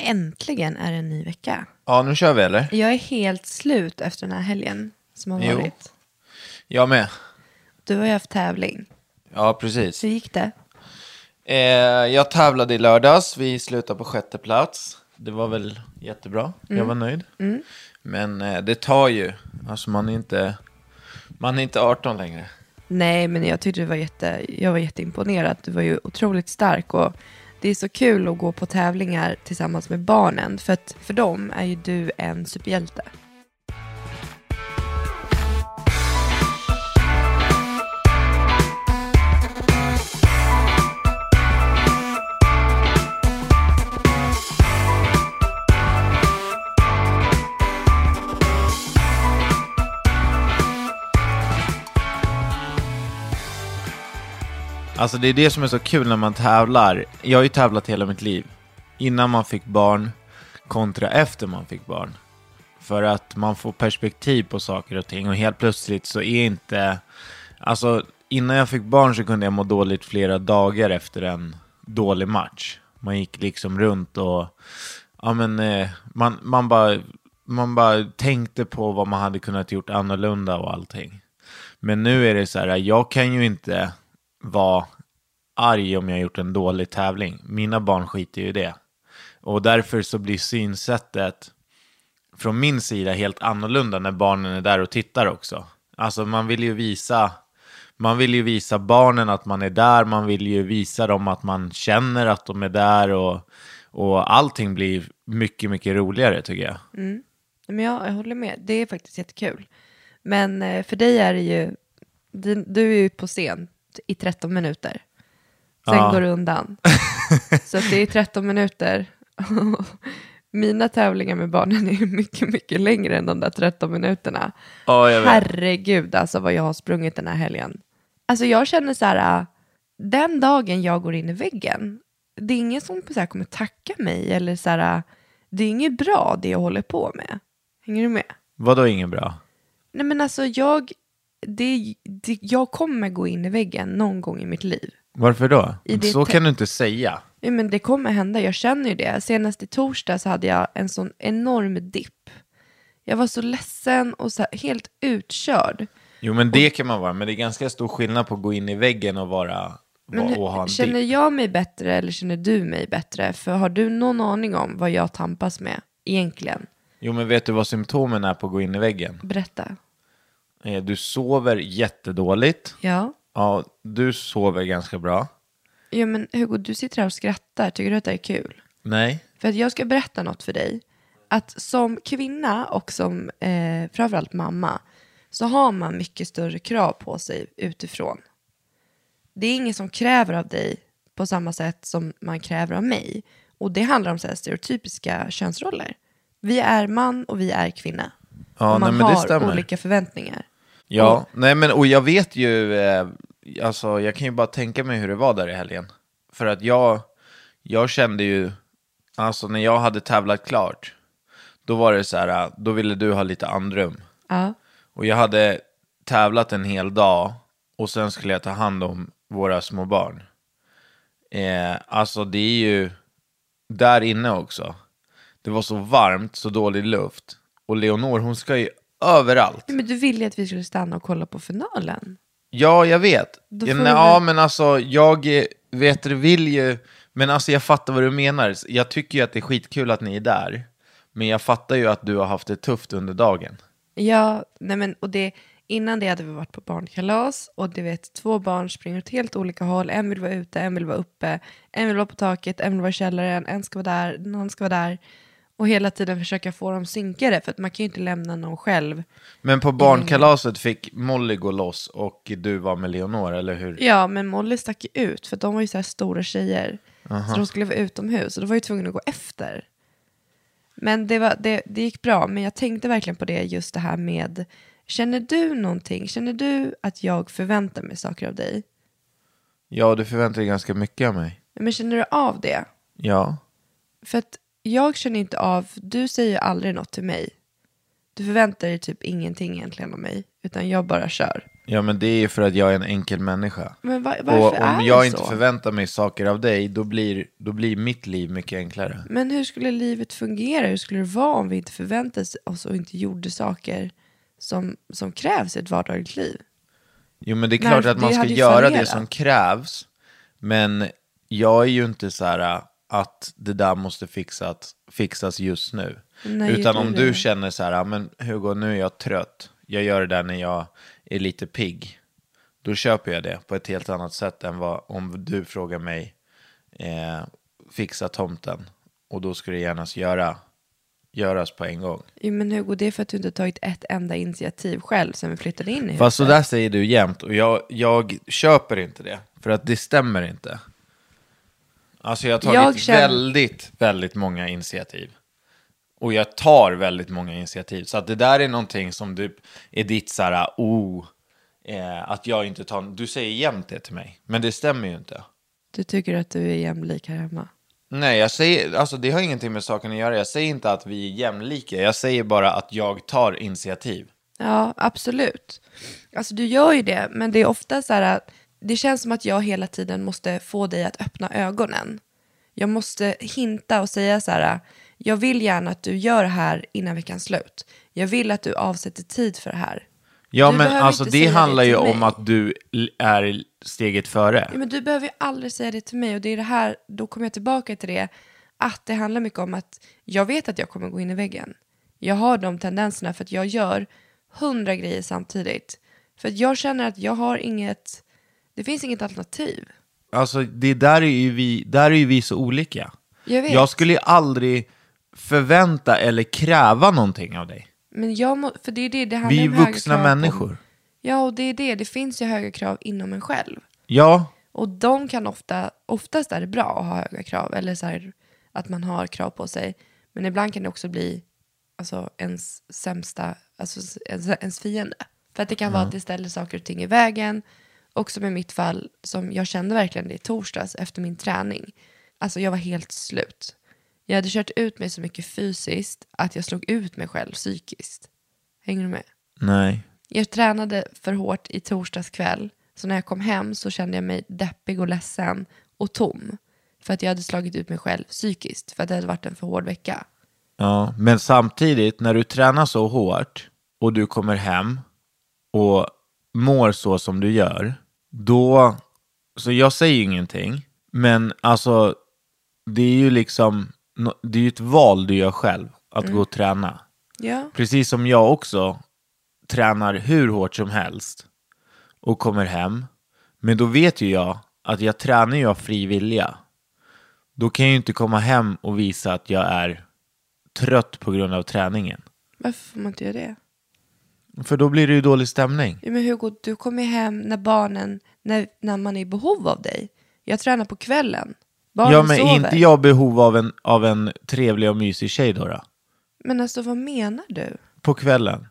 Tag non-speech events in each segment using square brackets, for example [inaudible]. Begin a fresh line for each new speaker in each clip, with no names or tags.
Äntligen är det en ny vecka.
Ja, nu kör vi eller?
Jag är helt slut efter den här helgen som har
Jo.
varit.
Jag med.
Du har ju haft tävling.
Ja, precis.
Hur gick det?
Eh, jag tävlade i lördags. Vi slutade på sjätte plats. Det var väl jättebra. Jag var nöjd. Men eh, det tar ju. Alltså man är inte, man är inte 18 längre.
Nej, men jag tyckte det var jätte, jag var jätteimponerad. Du var ju otroligt stark och det är så kul att gå på tävlingar tillsammans med barnen. För att för dem är ju du en superhjälte.
Alltså det är det som är så kul när man tävlar. Jag har ju tävlat hela mitt liv. Innan man fick barn kontra efter man fick barn. För att man får perspektiv på saker och ting och helt plötsligt så är inte... Alltså innan jag fick barn så kunde jag må dåligt flera dagar efter en dålig match. Man gick liksom runt och... Ja men eh, man, man, bara, man bara tänkte på vad man hade kunnat gjort annorlunda och allting. Men nu är det så här, jag kan ju inte vara arg om jag gjort en dålig tävling. Mina barn skiter ju i det. Och därför så blir synsättet från min sida helt annorlunda när barnen är där och tittar också. Alltså man vill ju visa, man vill ju visa barnen att man är där, man vill ju visa dem att man känner att de är där och, och allting blir mycket, mycket roligare tycker jag.
Nej, Men jag, jag håller med, det är faktiskt jättekul. Men eh, för dig är det ju, du, du är ju på scen i 13 minuter. Sen
Ja.
går du undan.
[laughs]
Så att det är 13 minuter. [laughs] Mina tävlingar med barnen är ju mycket, mycket längre än de där 13 minuterna.
Ja, jag vet.
Herregud alltså vad jag har sprungit den här helgen. Alltså jag känner så här, äh, den dagen jag går in i väggen, det är ingen som så här kommer tacka mig eller så här, äh, det är inget bra det jag håller på med. Hänger du med?
Vadå inget bra?
Nej men alltså jag, det, det, jag kommer gå in i väggen någon gång i mitt liv.
Varför då?
I det
Så
te-
kan du inte säga.
Ja, men det kommer hända, jag känner ju det. Senast i torsdag så hade jag en sån enorm dipp. Jag var så ledsen och så här, helt utkörd.
Jo, men det kan man vara. Men det är ganska stor skillnad på att gå in i väggen och vara
Men
och, och ha
hur,
en
känner
dipp.
jag mig bättre eller känner du mig bättre? För har du någon aning om vad jag tampas med egentligen?
Jo, men vet du vad symptomen är på att gå in i väggen?
Berätta.
Eh, Du sover jättedåligt.
Ja.
Ja, du sover ganska bra.
Ja men Hugo, du sitter här och skrattar. Tycker du att det är kul?
Nej.
För att jag ska berätta något för dig. Att som kvinna och som eh, framförallt mamma så har man mycket större krav på sig utifrån. Det är ingen som kräver av dig på samma sätt som man kräver av mig. Och det handlar om så här stereotypiska könsroller. Vi är man och vi är kvinna.
Ja,
och man
nej, men det
har
stämmer.
olika förväntningar.
Ja, nej men och jag vet ju, eh, alltså jag kan ju bara tänka mig hur det var där i helgen. För att jag, jag kände ju, alltså när jag hade tävlat klart, då var det så här, eh, då ville du ha lite andrum.
Ja.
Och jag hade tävlat en hel dag och sen skulle jag ta hand om våra små barn. Eh, alltså det är ju där inne också. Det var så varmt, så dålig luft. Och Leonor, hon ska ju överallt.
Men du ville ju att vi skulle stanna och kolla på finalen.
Ja, jag vet.
Då
Ja,
får
nej,
du
Ja,
väl-
men alltså, jag eh, vet du vill ju... Men alltså, jag fattar vad du menar. Jag tycker ju att det är skitkul att ni är där. Men jag fattar ju att du har haft det tufft under dagen.
Ja, nej men, och det, innan det hade vi varit på barnkalas och du vet, två barn springer åt helt olika håll. En vill vara ute, en vill vara uppe, en vill vara på taket, en vill vara i källaren, en ska vara där, någon ska vara där. Och hela tiden försöka få dem synkade, för att man kan ju inte lämna någon själv.
Men på
Mm.
barnkalaset fick Molly gå loss och du var med Leonora, eller hur?
Ja, men Molly stack ju ut, för de var ju så här stora tjejer. Så de skulle vara utomhus, och då var jag ju tvungen att gå efter. Men det, var, det, det gick bra, men jag tänkte verkligen på det, just det här med, känner du någonting? Känner du att jag förväntar mig saker av dig?
Ja, du förväntade dig ganska mycket av mig.
Men känner du av det?
Ja.
För att jag känner inte av, du säger ju aldrig något till mig. Du förväntar dig typ ingenting egentligen av mig, utan jag bara kör.
Ja, men det är ju för att jag är en enkel människa.
Men va- varför
Och
är
om
det
jag
så?
inte förväntar mig saker av dig, då blir, då blir mitt liv mycket enklare.
Men hur skulle livet fungera? Hur skulle det vara om vi inte förväntade oss och inte gjorde saker som, som krävs i ett vardagligt liv?
Jo, men det är
Nej,
klart att
det
man ska
hade ju
göra det
fallerat.
som krävs. Men jag är ju inte så här äh, att det där måste fixas, fixas just nu.
Nej,
Utan
gör
om
du
du
det?
känner så här, "Ah, men Hugo, nu är jag trött. Jag gör det där när jag är lite pigg. Då köper jag det på ett helt annat sätt än vad, om du frågar mig, eh, fixa tomten. Och då ska det gärna göra, göras på en gång.
Jo, men Hugo, det är för att du inte har tagit ett enda initiativ själv sen vi flyttade in i huset.
Fast så där säger du jämt och jag, jag köper inte det. För att det stämmer inte. Alltså jag har tagit
Jag känner-
väldigt, väldigt många initiativ. Och jag tar väldigt många initiativ. Så att det där är någonting som du, är ditt så här, oh, eh, att jag inte tar, du säger jämt det till mig. Men det stämmer ju inte.
Du tycker att du är jämlik här hemma.
Nej, jag säger, alltså det har ingenting med saken att göra. Jag säger inte att vi är jämlika. Jag säger bara att jag tar initiativ.
Ja, absolut. Alltså du gör ju det, men det är ofta så här att det känns som att jag hela tiden måste få dig att öppna ögonen. Jag måste hinta och säga så här, jag vill gärna att du gör det här innan veckans slut. Jag vill att du avsätter tid för det här.
Ja,
Du
men
behöver
alltså
inte
det
säga det
handlar
till
ju
mig.
om att du l- är steget före.
Ja, men du behöver ju aldrig säga det till mig och det är det här, då kommer jag tillbaka till det, att det handlar mycket om att jag vet att jag kommer gå in i väggen. Jag har de tendenserna för att jag gör hundra grejer samtidigt. För att jag känner att jag har inget, det finns inget alternativ.
Alltså, det där är ju vi, där är ju vi så olika.
Jag vet,
Jag skulle ju aldrig förvänta eller kräva någonting av dig.
men jag må, för det är det det handlar
Vi är
om höga
vuxna
krav
människor.
På, ja, och det är det, det finns ju höga krav inom en själv.
Ja,
Och de kan ofta, oftast är det bra att ha höga krav eller så här, att man har krav på sig. Men ibland kan det också bli alltså, ens sämsta, alltså ens, ens fiende. För att det kan vara att det ställer saker och ting i vägen. Och som i mitt fall, som jag kände verkligen det i torsdags efter min träning. Alltså jag var helt slut. Jag hade kört ut mig så mycket fysiskt att jag slog ut mig själv psykiskt. Hänger du med?
nej.
Jag tränade för hårt i torsdags kväll, så när jag kom hem så kände jag mig deppig och ledsen och tom. För att jag hade slagit ut mig själv psykiskt, för att det hade varit en för hård vecka.
Ja, men samtidigt, när du tränar så hårt och du kommer hem och mår så som du gör, då... Så jag säger ju ingenting, men alltså, det är ju liksom... nå- Det är ju ett val du gör själv, att gå och träna.
Ja.
Precis som jag också tränar hur hårt som helst och kommer hem. Men då vet ju jag att jag tränar ju av fri vilja. Då kan jag ju inte komma hem och visa att jag är trött på grund av träningen.
Varför får man inte göra det?
För då blir det ju dålig stämning.
Ja, men Hugo, du kommer hem när barnen, när, när man är i behov av dig. Jag tränar på kvällen. Barnen
ja, men
sover.
inte jag behov av en, av en trevlig och mysig tjej då, då
Men alltså vad menar du?
På kvällen.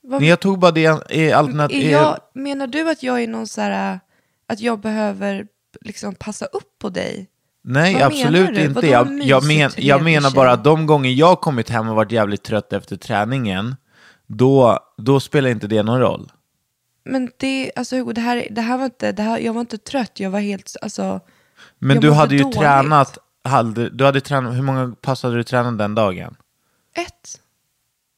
Vad,
Nej, jag tog bara det eh, alternativet.
är jag, menar du att jag är någon så här, att jag behöver liksom passa upp på dig?
Nej,
Vad
absolut
menar du?
inte.
Vadå
Jag,
mysigt,
jag, men, jag
trevlig
menar
tjej?
bara att de gånger jag kommit hem och varit jävligt trött efter träningen, då, då spelar inte det någon roll.
Men det, alltså Hugo, det här, det här var inte, det här, jag var inte trött, jag var helt, alltså,
Men
Jag
du
mådde
hade ju
dåligt.
tränat, hade, du hade tränat, hur många pass hade du tränat den dagen?
ett.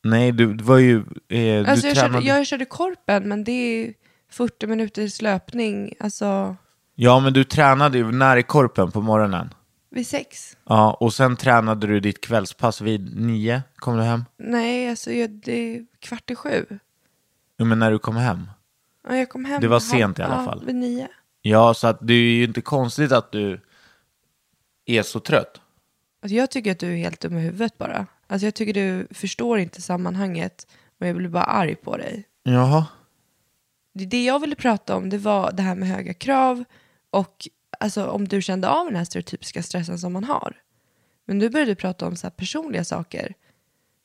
Nej, du var ju, eh,
Alltså
du
jag,
tränade...
körde, jag körde korpen, men det är 40 minuters löpning, alltså
Ja, men du tränade ju när i korpen på morgonen.
vid sex.
Ja, och sen tränade du ditt kvällspass vid nio, kom du hem?
Nej, alltså jag, det är kvart i sju.
Jo, men när du kom hem.
Ja, jag kom hem
Det var
halv-
sent i alla
ja,
fall.
vid nio.
Ja, så att det är ju inte konstigt att du är så trött.
Alltså jag tycker att du är helt dum i huvudet bara. Alltså jag tycker du förstår inte sammanhanget och jag blir bara arg på dig.
Jaha.
Det- Det jag ville prata om det var det här med höga krav och alltså, om du kände av den här stereotypiska stressen som man har. Men nu börjar du prata om så här personliga saker.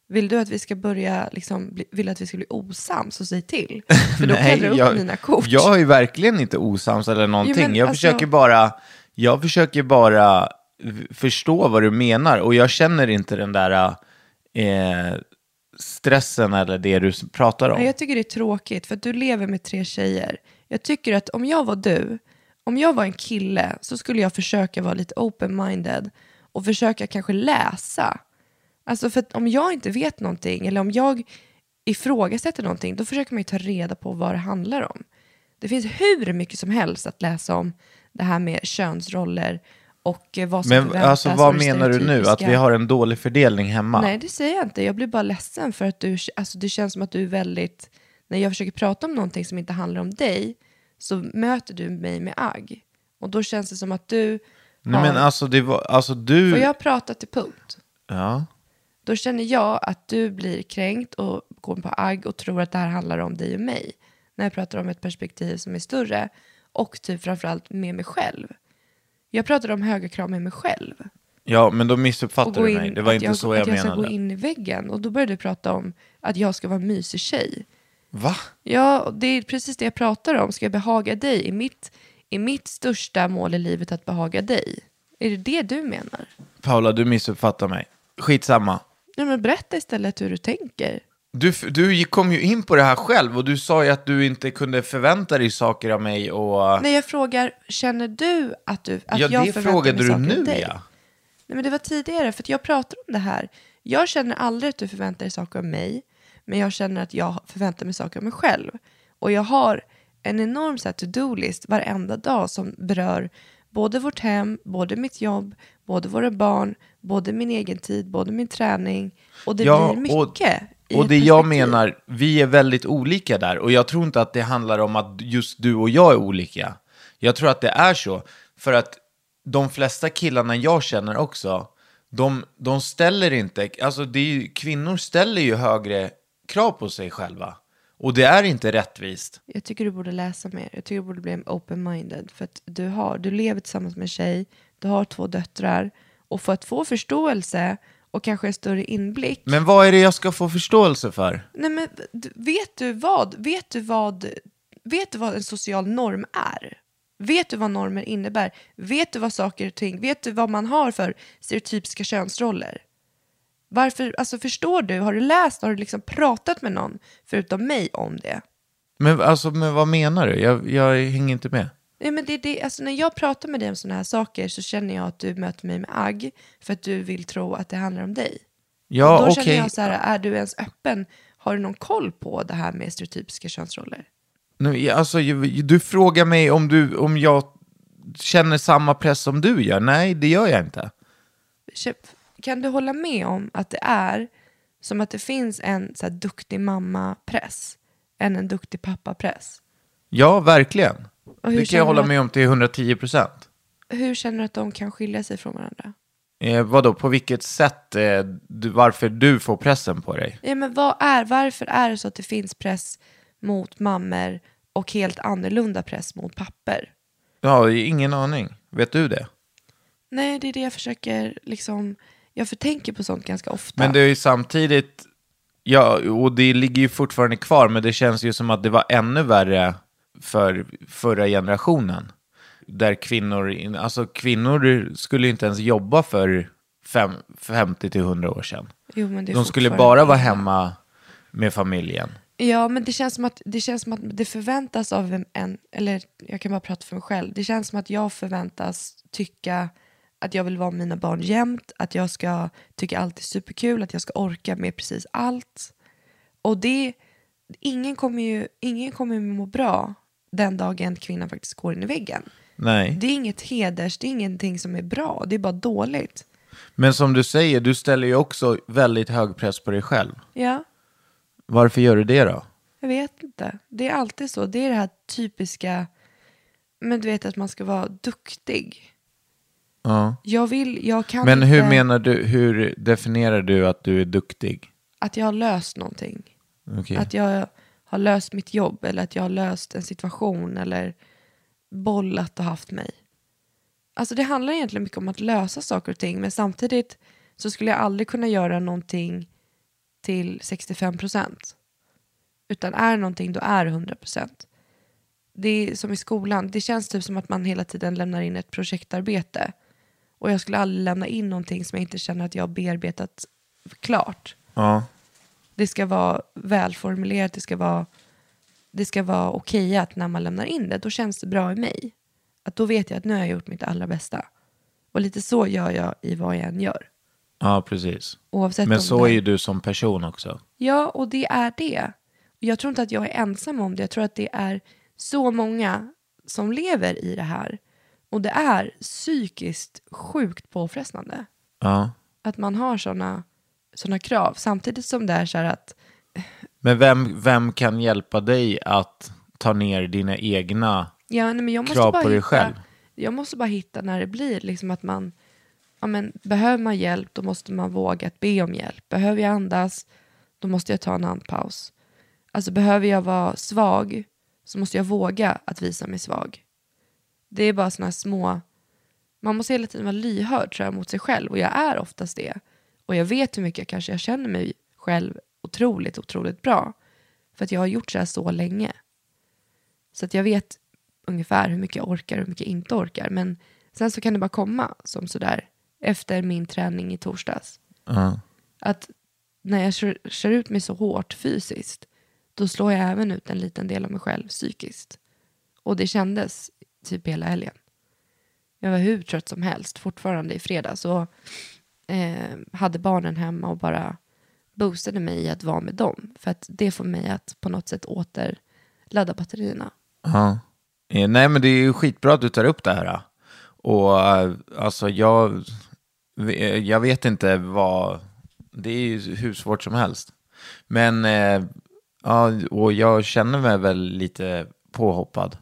Vill du att vi ska börja, liksom, bli, vill du att vi ska bli osams så säg till. För då kan jag dra upp mina kort.
Jag är verkligen inte osams eller någonting.
men
jag,
alltså-
försöker bara, jag försöker bara v- förstå vad du menar och jag känner inte den där eh, stressen eller det du s- pratar om.
Nej, jag tycker det är tråkigt för att du lever med tre tjejer. Jag tycker att om jag var du, om jag var en kille så skulle jag försöka vara lite open-minded och försöka kanske läsa. Alltså för att om jag inte vet någonting eller om jag ifrågasätter någonting då försöker man ju ta reda på vad det handlar om. Det finns hur mycket som helst att läsa om det här med könsroller och eh, vad som
Men
förväntas.
alltså,
och
vad
det
menar du nu? Att vi
stereotypiska.
har en dålig fördelning hemma?
Nej, det säger jag inte. Jag blir bara ledsen för att du, alltså det känns som att du är väldigt, när jag försöker prata om någonting som inte handlar om dig, så möter du mig med agg. Och då känns det som att du,
Nej, men
har-
alltså, det var, alltså du...
får jag prata till punkt?
Ja.
Då känner jag att du blir kränkt och går på agg och tror att det här handlar om dig och mig. När jag pratar om ett perspektiv som är större och typ framförallt med mig själv. Jag pratar om höga krav med mig själv.
ja, men då
och
missuppfattar
gå
du
in,
mig. Det var
att
inte
jag,
så jag
att jag ska
menade.
gå in i väggen. Och då började du prata om att jag ska vara en mysig tjej.
Va?
Ja, och det är precis det jag pratar om. Ska jag behaga dig? Är mitt, är mitt största mål i livet att behaga dig? Är det det du menar?
Paula, du missuppfattar mig. Skitsamma.
Ja, men berätta istället hur du tänker.
Du, f- du gick- kom ju in på det här själv och du sa ju att du inte kunde förvänta dig saker av mig och...
Nej, jag frågar, känner du att du att
ja,
jag
det
förväntar
frågade
mig
du
saker av
nu
dig?
ja.
Nej, men det var tidigare, för att jag pratar om det här. Jag känner aldrig att du förväntar dig saker av mig, men jag känner att jag förväntar mig saker av mig själv. Och jag har en enorm så här to-do-list varenda dag som berör både vårt hem, både mitt jobb, både våra barn, både min egen tid, både min träning. Och det
ja
blir mycket. i
och
ett
det jag
perspektiv.
menar, vi är väldigt olika där och jag tror inte att det handlar om att just du och jag är olika. Jag tror att det är så, för att de flesta killarna jag känner också, de, de ställer inte, alltså det är ju, kvinnor ställer ju högre krav på sig själva. Och det är inte rättvist.
Jag tycker du borde läsa mer. Jag tycker du borde bli open-minded. För att du, har, du lever tillsammans med en tjej, du har två döttrar. Och för att få förståelse och kanske en större inblick.
Men vad är det jag ska få förståelse för?
Nej, men, d- vet, du vad, vet, du vad, vet du vad en social norm är? Vet du vad normer innebär? Vet du vad saker och ting, vet du vad man har för stereotypiska könsroller? Varför, alltså förstår du, har du läst, har du liksom pratat med någon förutom mig om det?
Men, alltså, men vad menar du? Jag, jag hänger inte med.
Nej, men det, det, alltså när jag pratar med dig om sådana här saker så känner jag att du möter mig med agg för att du vill tro att det handlar om dig.
Ja,
Då
okej.
känner jag så här, är du ens öppen? Har du någon koll på det här med stereotypiska könsroller?
Nu, ja, alltså, ju- du frågar mig om, du, om jag känner samma press som du gör. Nej, det gör jag inte.
Köp- Kan du hålla med om att det är som att det finns en så här, duktig mamma-press än en duktig pappa-press?
Ja, verkligen.
hur
Det kan
känner
jag hålla
du?
med om till 110 procent.
Hur känner du att de kan skilja sig från varandra?
Eh, vadå, på vilket sätt, eh, du, varför du får pressen på dig?
Ja, men vad är, varför är det så att det finns press mot mammor och helt annorlunda press mot papper?
Ja, ingen aning. Vet du det?
Nej, det är det jag försöker liksom. Jag förtänker på sånt ganska ofta.
Men det är ju samtidigt, ja, och det ligger ju fortfarande kvar, men det känns ju som att det var ännu värre för förra generationen. Där kvinnor, in- alltså kvinnor skulle ju inte ens jobba för fem, 50-100 år sedan.
jo, men det är
De skulle
fortfarande-
bara vara hemma med familjen.
Ja, men det känns som att det, känns som att det förväntas av en, en, eller jag kan bara prata för mig själv. Det känns som att jag förväntas tycka att jag vill vara med mina barn jämt, att jag ska tycka allt är superkul, att jag ska orka med precis allt. Och det, ingen kommer ju, ingen kommer ju må bra den dagen kvinnan faktiskt går in i väggen.
Nej.
Det är inget heders, det är ingenting som är bra, det är bara dåligt.
Men som du säger, du ställer ju också väldigt hög press på dig själv.
Ja.
Varför gör du det då?
Jag vet inte. Det är alltid så. Det är det här typiska, men du vet att man ska vara duktig.
Ja.
Jag vill, jag kan
Men hur
inte
menar du, hur definierar du att du är duktig?
att jag har löst någonting.
Okej.
Att jag har löst mitt jobb eller att jag har löst en situation eller bollat och haft mig. Alltså det handlar egentligen mycket om att lösa saker och ting men samtidigt så skulle jag aldrig kunna göra någonting till 65%. Utan är någonting då är det 100%. Det är som i skolan, det känns typ som att man hela tiden lämnar in ett projektarbete. Och jag skulle aldrig lämna in någonting som jag inte känner att jag har bearbetat klart
Ja.
det ska vara välformulerat, det ska vara, det ska vara okej att när man lämnar in det, då känns det bra i mig. Att då vet jag att nu har jag gjort mitt allra bästa. Och lite så gör jag i vad jag än gör.
ja, precis.
Oavsett
Men
om
så
det...
är ju du som person också.
Ja, och det är det. Och jag tror inte att jag är ensam om det. Jag tror att det är så många som lever i det här. Och det är psykiskt sjukt påfrestande.
Ja.
Att man har sådana såna krav. Samtidigt som det är så här att
Men vem, vem kan hjälpa dig att ta ner dina egna...
Ja, nej, men jag måste
krav
bara
på dig
hitta,
själv.
Jag måste bara hitta när det blir liksom att man, ja men behöver man hjälp då måste man våga att be om hjälp. Behöver jag andas då måste jag ta en andpaus. Alltså behöver jag vara svag så måste jag våga att visa mig svag. Det är bara sådana här små, man måste hela tiden vara lyhörd tror jag mot sig själv och jag är oftast det. Och jag vet hur mycket jag kanske jag känner mig själv otroligt, otroligt bra. För att jag har gjort så här så länge. Så att jag vet ungefär hur mycket jag orkar och hur mycket jag inte orkar. Men sen så kan det bara komma som sådär efter min träning i torsdags.
Ja.
Att när jag kör, kör ut mig så hårt fysiskt, då slår jag även ut en liten del av mig själv psykiskt. Och det kändes typ hela helgen. Jag var hur trött som helst fortfarande i fredags och eh, hade barnen hemma och bara boostade mig i att vara med dem. För att det får mig att på något sätt återladda batterierna.
Ja. Eh, Nej, men det är ju skitbra att du tar upp det här. eh. Och eh, alltså, jag, eh, jag vet inte vad... Det är ju hur svårt som helst. Men, eh, ja, och jag känner mig väl lite påhoppad.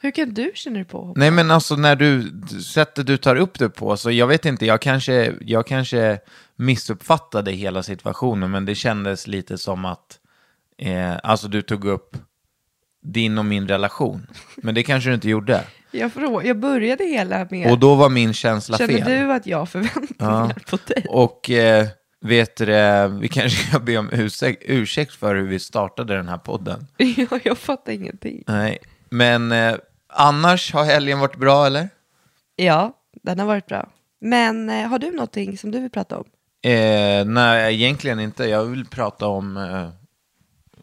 Hur kan du känna dig påhoppad?
Nej men alltså när du, sättet du tar upp det på, så jag vet inte, jag kanske, jag kanske missuppfattade hela situationen, men det kändes lite som att, eh, alltså du tog upp din och min relation, men det kanske du inte gjorde.
Jag, frå- jag började hela med,
Och då var min känsla
känner
fel.
du att jag har förväntningar på dig? [laughs]
Och eh, vet du det, [laughs] vi kanske kan be om ursäkt, ursäkt för hur vi startade den här podden.
Ja, jag fattar ingenting.
Nej, men eh, annars har helgen varit bra eller?
Ja, den har varit bra. Men eh, har du någonting som du vill prata om?
Eh, nej, egentligen inte. Jag vill prata om... Eh,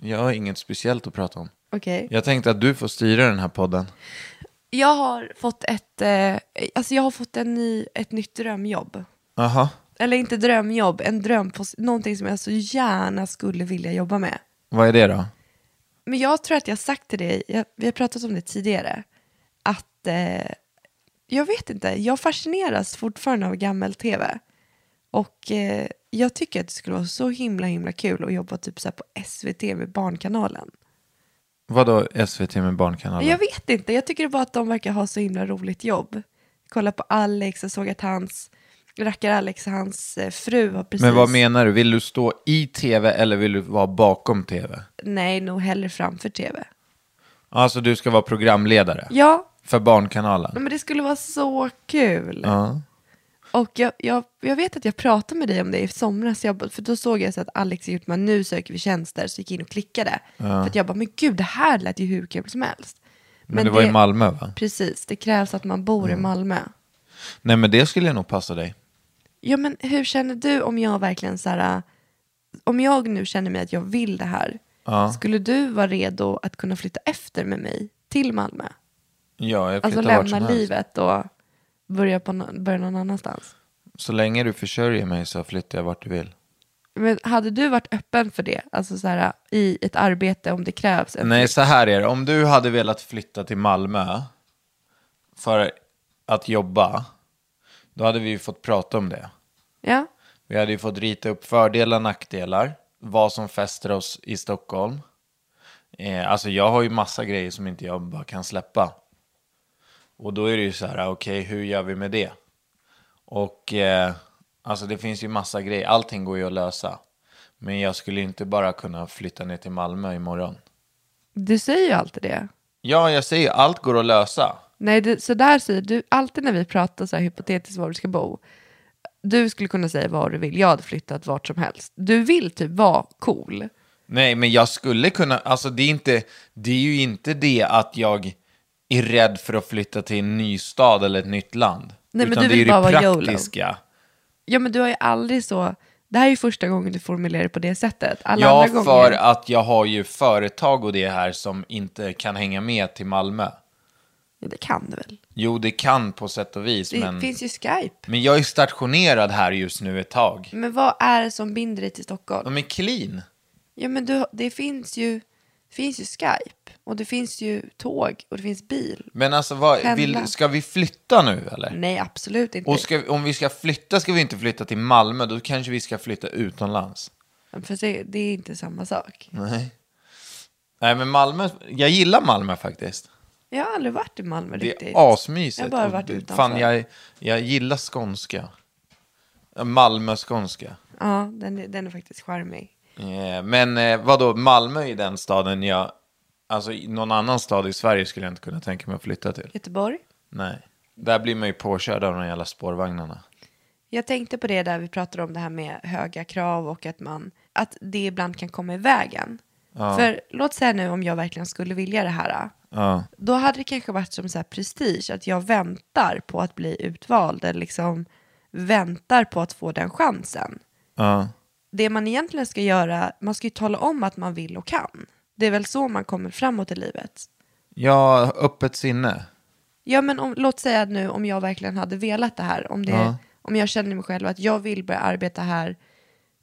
jag har inget speciellt att prata om.
Okej.
Jag tänkte att du får styra den här podden.
Jag har fått ett, eh, alltså jag har fått en ny, ett nytt drömjobb.
Jaha,
Eller inte drömjobb, en dröm på någonting som jag så gärna skulle vilja jobba med.
vad är det då?
Men jag tror att jag har sagt till dig, jag, vi har pratat om det tidigare, att eh, jag vet inte, jag fascineras fortfarande av gammel-tv. Och eh, jag tycker att det skulle vara så himla himla kul att jobba typ så här på SVT med Barnkanalen.
Vadå SVT med Barnkanalen?
Jag vet inte, jag tycker bara att de verkar ha så himla roligt jobb. Kolla på Alex, jag såg att hans, rackar Alex, hans eh, fru har precis...
Men vad menar du? Vill du stå i tv eller vill du vara bakom tv?
Nej, nog hellre framför tv.
Alltså du ska vara programledare
Ja,
för Barnkanalen?
men det skulle vara så kul.
Ja.
Och jag, jag, jag vet att jag pratade med dig om det i somras, jag, för då såg jag så att Alex har gjort man nu söker vi tjänster, så gick jag in och klickade. För att jag bara, men gud, det här lät ju hur kul som helst.
Men, det var i Malmö va?
Precis, det krävs att man bor i Malmö.
Nej men det skulle nog passa dig.
Ja, men hur känner du om jag verkligen så här, äh, om jag nu känner mig att jag vill det här,
Ja.
skulle du vara redo att kunna flytta efter med mig till Malmö?
Ja, jag
Alltså
flyttar vart
lämna
som helst.
livet och börja, på, nå- börja någon annanstans?
Så länge du försörjer mig så flyttar jag vart du vill.
Men hade du varit öppen för det? Alltså så här, i ett arbete om det krävs? En
Nej, så här är det. Om du hade velat flytta till Malmö för att jobba, då hade vi ju fått prata om det.
Ja,
Vi hade ju fått rita upp fördelar och nackdelar, vad som fäster oss i Stockholm. Eh, alltså jag har ju massa grejer som inte jag bara kan släppa. Och då är det ju så här, okej, hur gör vi med det? Och eh, alltså det finns ju massa grejer, allting går ju att lösa. Men jag skulle inte bara kunna flytta ner till Malmö imorgon.
Du säger ju alltid det.
Ja, jag säger ju, allt går att lösa.
Nej, du, så där säger du alltid när vi pratar så här hypotetiskt var du ska bo. Du skulle kunna säga vad du vill. Jag hade flyttat vart som helst. Du vill typ vara cool.
Nej, men jag skulle kunna, alltså det är, inte, det är ju inte det att jag är rädd för att flytta till en ny stad eller ett nytt land.
men
Utan
du
det
vill
är ju
bara vara
det
YOLO.
praktiska.
Ja, men du har ju aldrig så... Det här är ju första gången du formulerar det på det sättet. Alla
Ja,
andra
för
gånger...
att jag har ju företag och det här som inte kan hänga med till Malmö.
Det kan du väl?
Jo, det kan på sätt och vis,
Det
men,
finns ju Skype.
men jag är stationerad här just nu ett tag.
Men vad är det som binder dig till Stockholm?
De är clean.
Ja, men du, det finns ju, finns ju Skype. Och det finns ju tåg. Och det finns bil.
Men alltså, vad,
Pendla.
vill, ska vi flytta nu eller?
Nej, absolut inte.
Och ska, om vi ska flytta ska vi inte flytta till Malmö, då kanske vi ska flytta utomlands.
För det, det är inte samma sak.
Nej. Nej, men Malmö, jag gillar Malmö faktiskt.
Jag har aldrig varit i Malmö
Det
riktigt.
är asmysigt.
Jag har bara
Och
varit
det-
utanför.
Fan, jag, jag gillar skånska. Malmö-skånska.
Ja, den, är- den är faktiskt charmig.
Eh, Men eh, vadå, Malmö är den staden jag... Alltså i någon annan stad i Sverige skulle jag inte kunna tänka mig att flytta till.
Göteborg.
Nej. Där blir man ju påkörd av de jävla spårvagnarna.
Jag tänkte på det där vi pratade om det här med höga krav och att, man, att det ibland kan komma i vägen. För låt säga nu om jag verkligen skulle vilja det här.
Ja.
Då hade det kanske varit som så här prestige, att jag väntar på att bli utvald eller liksom väntar på att få den chansen.
Ja.
Det man egentligen ska göra, man ska ju tala om att man vill och kan. Det är väl så man kommer framåt i livet.
Ja, öppet sinne.
Ja men om, låt säga nu om jag verkligen hade velat det här, om, det,
Ja.
om jag känner mig själv att jag vill börja arbeta här,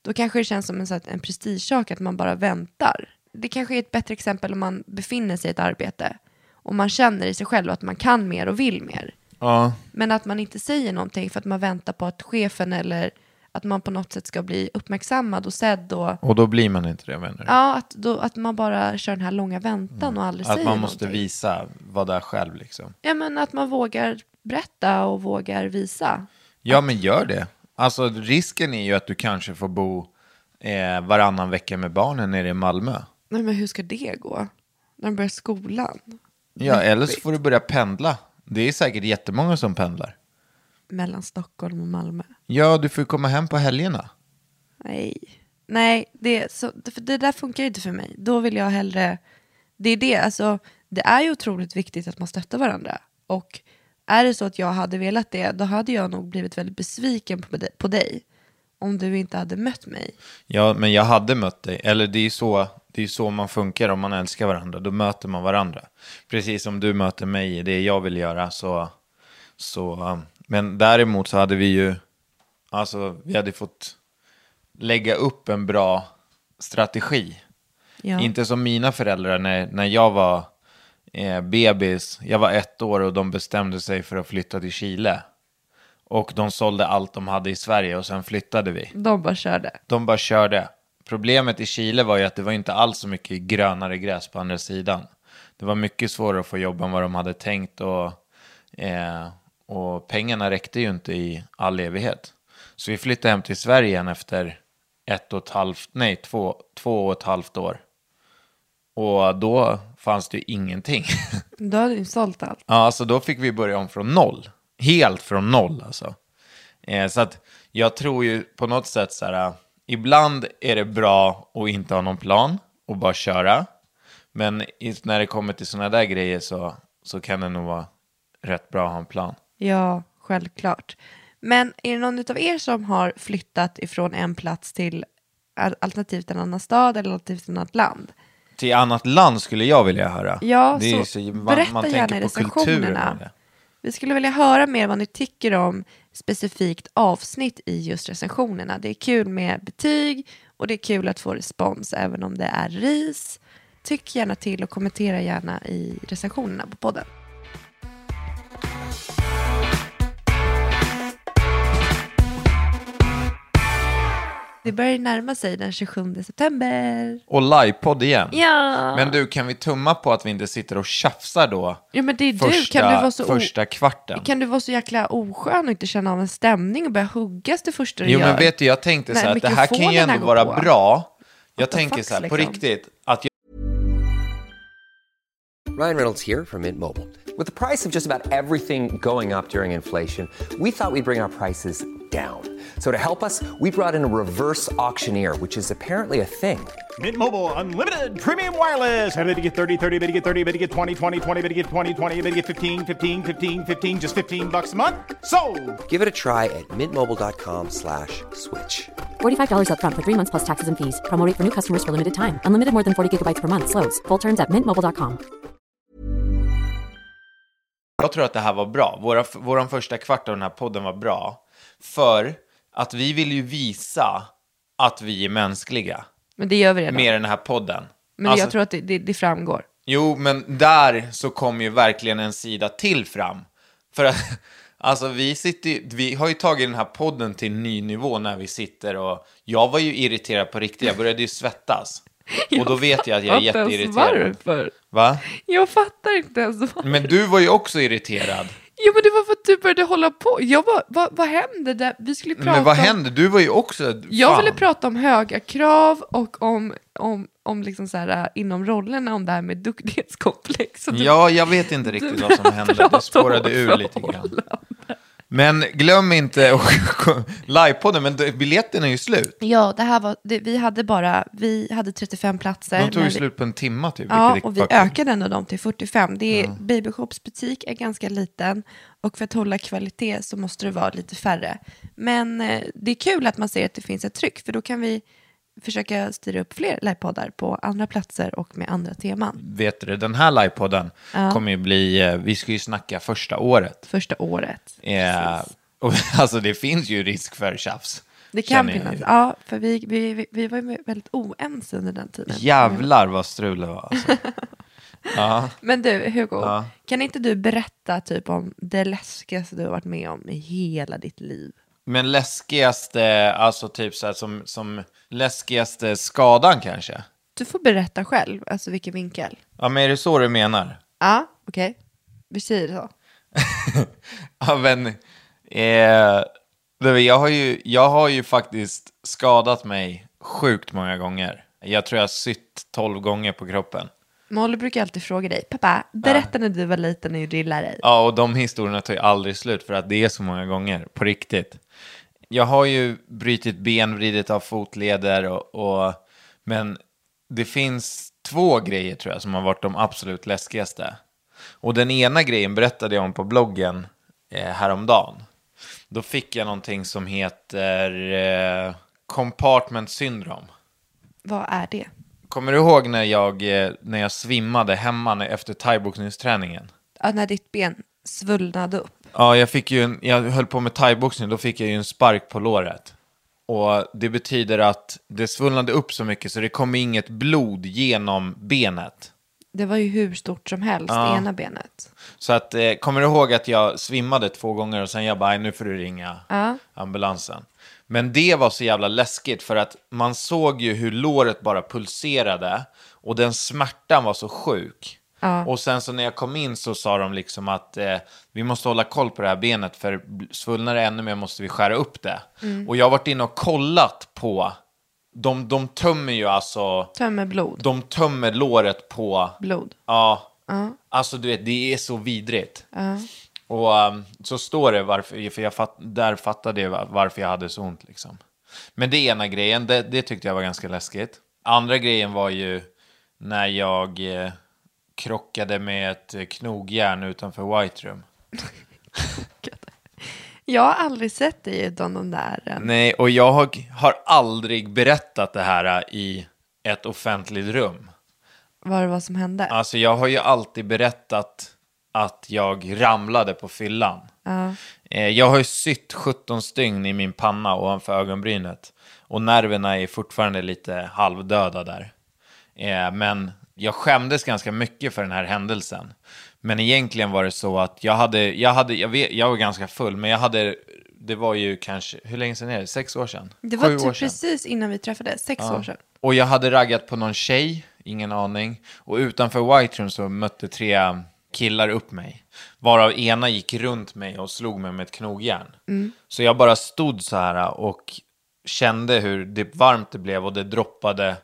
då kanske det känns som en, så att- en prestigesak att man bara väntar. Det kanske är ett bättre exempel om man befinner sig i ett arbete och man känner i sig själv att man kan mer och vill mer.
Ja.
Men att man inte säger någonting för att man väntar på att chefen eller att man på något sätt ska bli uppmärksammad och sedd och
Och då blir man inte det, menar du?
ja, att, då, att man bara kör den här långa väntan och aldrig
Mm. Att
säger
man måste
någonting.
visa, vara där själv liksom.
Ja men att man vågar berätta och vågar visa.
Ja, men gör det. Alltså risken är ju att du kanske får bo eh, varannan vecka med barnen nere i Malmö.
Nej men hur ska det gå? När de börjar skolan?
Ja, eller så får du börja pendla. Det är säkert jättemånga som pendlar.
Mellan Stockholm och Malmö?
Ja, du får ju komma hem på helgerna.
Nej. Nej, det, så, för det där funkar inte för mig. Då vill jag hellre... Det är det, alltså det är ju otroligt viktigt att man stöttar varandra. Och är det så att jag hade velat det, då hade jag nog blivit väldigt besviken på, di- på dig. Om du inte hade mött mig.
Ja, men jag hade mött dig. Eller det är ju så, det är ju så man funkar om man älskar varandra. Då möter man varandra. Precis som du möter mig i det jag vill göra. Så, så, um, men däremot så hade vi ju, alltså vi hade fått lägga upp en bra strategi.
Ja.
Inte som mina föräldrar när, när jag var eh, bebis. Jag var ett år och de bestämde sig för att flytta till Chile. Och de sålde allt de hade i Sverige och sen flyttade vi.
De bara körde.
De bara körde. Problemet i Chile var ju att det var inte alls så mycket grönare gräs på andra sidan. Det var mycket svårare att få jobb än vad de hade tänkt och, eh, och pengarna räckte ju inte i all evighet. Så vi flyttade hem till Sverige igen efter ett och ett halvt, nej två, två och ett halvt år. Och då fanns det ju ingenting. [laughs]
Då hade du sålt allt.
Ja, alltså då fick vi börja om från noll. Helt från noll alltså. Eh, så att jag tror ju på något sätt så här, eh, ibland är det bra att inte ha någon plan och bara köra. Men i, när det kommer till sådana där grejer så, så kan det nog vara rätt bra att ha en plan.
Ja, självklart. Men är det någon av er som har flyttat ifrån en plats till al- alternativt en annan stad eller alternativt ett annat land?
Till annat land skulle jag vilja höra.
Ja,
Det är ju
så
man-
berätta
man tänker
gärna i
på kulturen och
recensionerna.
det.
Vi skulle vilja höra mer vad ni tycker om specifikt avsnitt i just recensionerna. Det är kul med betyg och det är kul att få respons även om det är ris. Tyck gärna till och kommentera gärna i recensionerna på podden. Det börjar ju närma sig den 27 september.
Och livepodd igen.
Ja.
Men du, kan vi tumma på att vi inte sitter och tjafsar då?
Ja, men det är du.
första,
Kan du vara så o-
första kvarten.
Kan du vara så jäkla oskön och inte känna av en stämning och börja huggas det första du
Jo,
gör?
men vet du, jag tänkte
Nej,
så här, att det här kan ju
mikrofonen här
ändå
går
vara
på.
bra. Jag
the
tänker
fuck,
så här, på
liksom?
riktigt, att jag
Ryan Reynolds here from Mint Mobile. With the price of just about everything going up during inflation, we thought we'd bring our prices down. So to help us, we brought in a reverse auctioneer, which is apparently a thing.
Mint Mobile unlimited premium wireless. Ready to get 30, 30, bit to get 30, bit to get 20, 20, 20, bit to get 20, 20, bit to get 15, 15, 15, 15 just 15 bucks a month. Sold.
Give it a try at mintmobile.com slash switch.
$45 upfront for three months plus taxes and fees. Promo rate for new customers for limited time. Unlimited more than 40 gigabytes per month. Slows. Full terms at mintmobile.com.
Jag tror att det här var bra. Våra, våran första kvart av den här podden var bra. För att vi vill ju visa att vi är mänskliga.
Men det gör vi redan.
Med den här podden.
Men
Alltså-
jag tror att det, det, det framgår.
Jo, men där så kom ju verkligen en sida till fram. För att, [laughs] alltså vi sitter ju, vi har ju tagit den här podden till en ny nivå när vi sitter och jag var ju irriterad på riktigt, jag började
[laughs]
ju svettas. Och då vet jag att jag
fattar
är
inte ens
jätteirriterad.
Varför?
Va?
Jag fattar inte ens varför.
Men du var ju också irriterad.
Jo men det var för att du började hålla på. Jag bara, vad, vad hände där? Vi skulle prata
Men vad
om-
hände? Du var ju också...
Jag
fan.
ville prata om höga krav och om, om, om liksom så här, inom rollerna, om det här med duktighetskomplex. Så du-
Ja, jag vet inte riktigt vad som hände.
pratar
Det
om
spårade ur lite grann. Men glöm inte [laughs] och- livepodden, men biljetten är ju slut.
Ja, det här var, det, vi hade bara, vi hade 35 platser.
De tog
men
ju
vi-
slut på en timma typ.
Ja,
vilket är
och vi
fucking-
ökade ändå dem till 45. Det är, Baby Shops butik är ganska liten och för att hålla kvalitet så måste det vara lite färre. Men eh, det är kul att man ser att det finns ett tryck för då kan vi försöka styra upp fler livepoddar på andra platser och med andra teman
Vet du, den här livepodden kommer ju bli, eh, vi ska ju snacka första året.
första året.
Eh, och, [laughs] alltså det finns ju risk för tjafs.
Det kan
känner jag
finnas,
ju.
ja, för vi, vi, vi- vi var ju väldigt oense under den tiden.
Jävlar vad strul det var.
[laughs]
Alltså.
Men du, Hugo, kan inte du berätta typ om det läskigaste du har varit med om i hela ditt liv?
Men läskigaste, alltså typ så här, som, som läskigaste skadan kanske?
Du får berätta själv, alltså vilken vinkel.
Ja, men är det så du menar?
Ja, okej. Vi säger så.
Ja, men, eh, du vet, jag, har ju, jag har ju faktiskt skadat mig sjukt många gånger. Jag tror jag har sytt tolv gånger på kroppen.
Molly brukar alltid fråga dig, pappa, berätta när du var liten när du drillade dig.
Ja, och de historierna tar ju aldrig slut för att det är så många gånger, på riktigt. Jag har ju brutit ben, vridit av fotleder och, och men det finns två grejer tror jag som har varit de absolut läskigaste. Och den ena grejen berättade jag om på bloggen eh, häromdagen. Då fick jag någonting som heter eh, compartment syndrome.
Vad är det?
Kommer du ihåg när jag, eh, när jag svimmade hemma när- efter thaiboxningsträningen?
Ja, när ditt ben svullnade upp.
Ja, jag, fick ju en, jag höll på med thaiboxning, då fick jag ju en spark på låret. Och det betyder att det svullnade upp så mycket så det kom inget blod genom benet.
Det var ju hur stort som helst,
Ja.
ena benet.
Så att, eh, kommer du ihåg att jag svimmade två gånger och sen jag bara, "Nej, nu får du ringa
Ja.
ambulansen. Men det var så jävla läskigt för att man såg ju hur låret bara pulserade och den smärtan var så sjuk. Och sen så när jag kom in så sa de liksom att eh, vi måste hålla koll på det här benet för svullnar det ännu mer måste vi skära upp det. Och jag har varit inne och kollat på, de, de tömmer ju alltså,
Tömmer blod.
de tömmer låret på
Blod.
Ja. Alltså du vet, det är så vidrigt. Och um, så står det varför, för jag fatt, där fattade jag va- varför jag hade så ont liksom. Men det är ena grejen, det, det tyckte jag var ganska läskigt. Andra grejen var ju när jag eh, krockade med ett eh, knogjärn utanför White Room.
Jag har aldrig sett dig utan de där. eh,
Nej, och jag har- har aldrig berättat det här eh, i ett offentligt rum.
Vad det var som hände.
Alltså jag har ju alltid berättat att jag ramlade på fyllan. Eh, Jag har ju sytt 17 stygn i min panna ovanför ögonbrynet. Och nerverna är fortfarande lite halvdöda där. Eh, Men jag skämdes ganska mycket för den här händelsen. Men egentligen var det så att jag hade, jag hade, jag, vet, jag var ganska full, men jag hade det var ju kanske, hur länge sedan är det? Sex år sedan?
Det var
Sju år
typ
sedan.
precis innan vi träffades, sex år sedan.
Och jag hade raggat på någon tjej, ingen aning. Och utanför White Room så mötte tre killar upp mig. Varav ena gick runt mig och slog mig med ett knogjärn. Så jag bara stod så här och kände hur det varmt det blev och det droppade.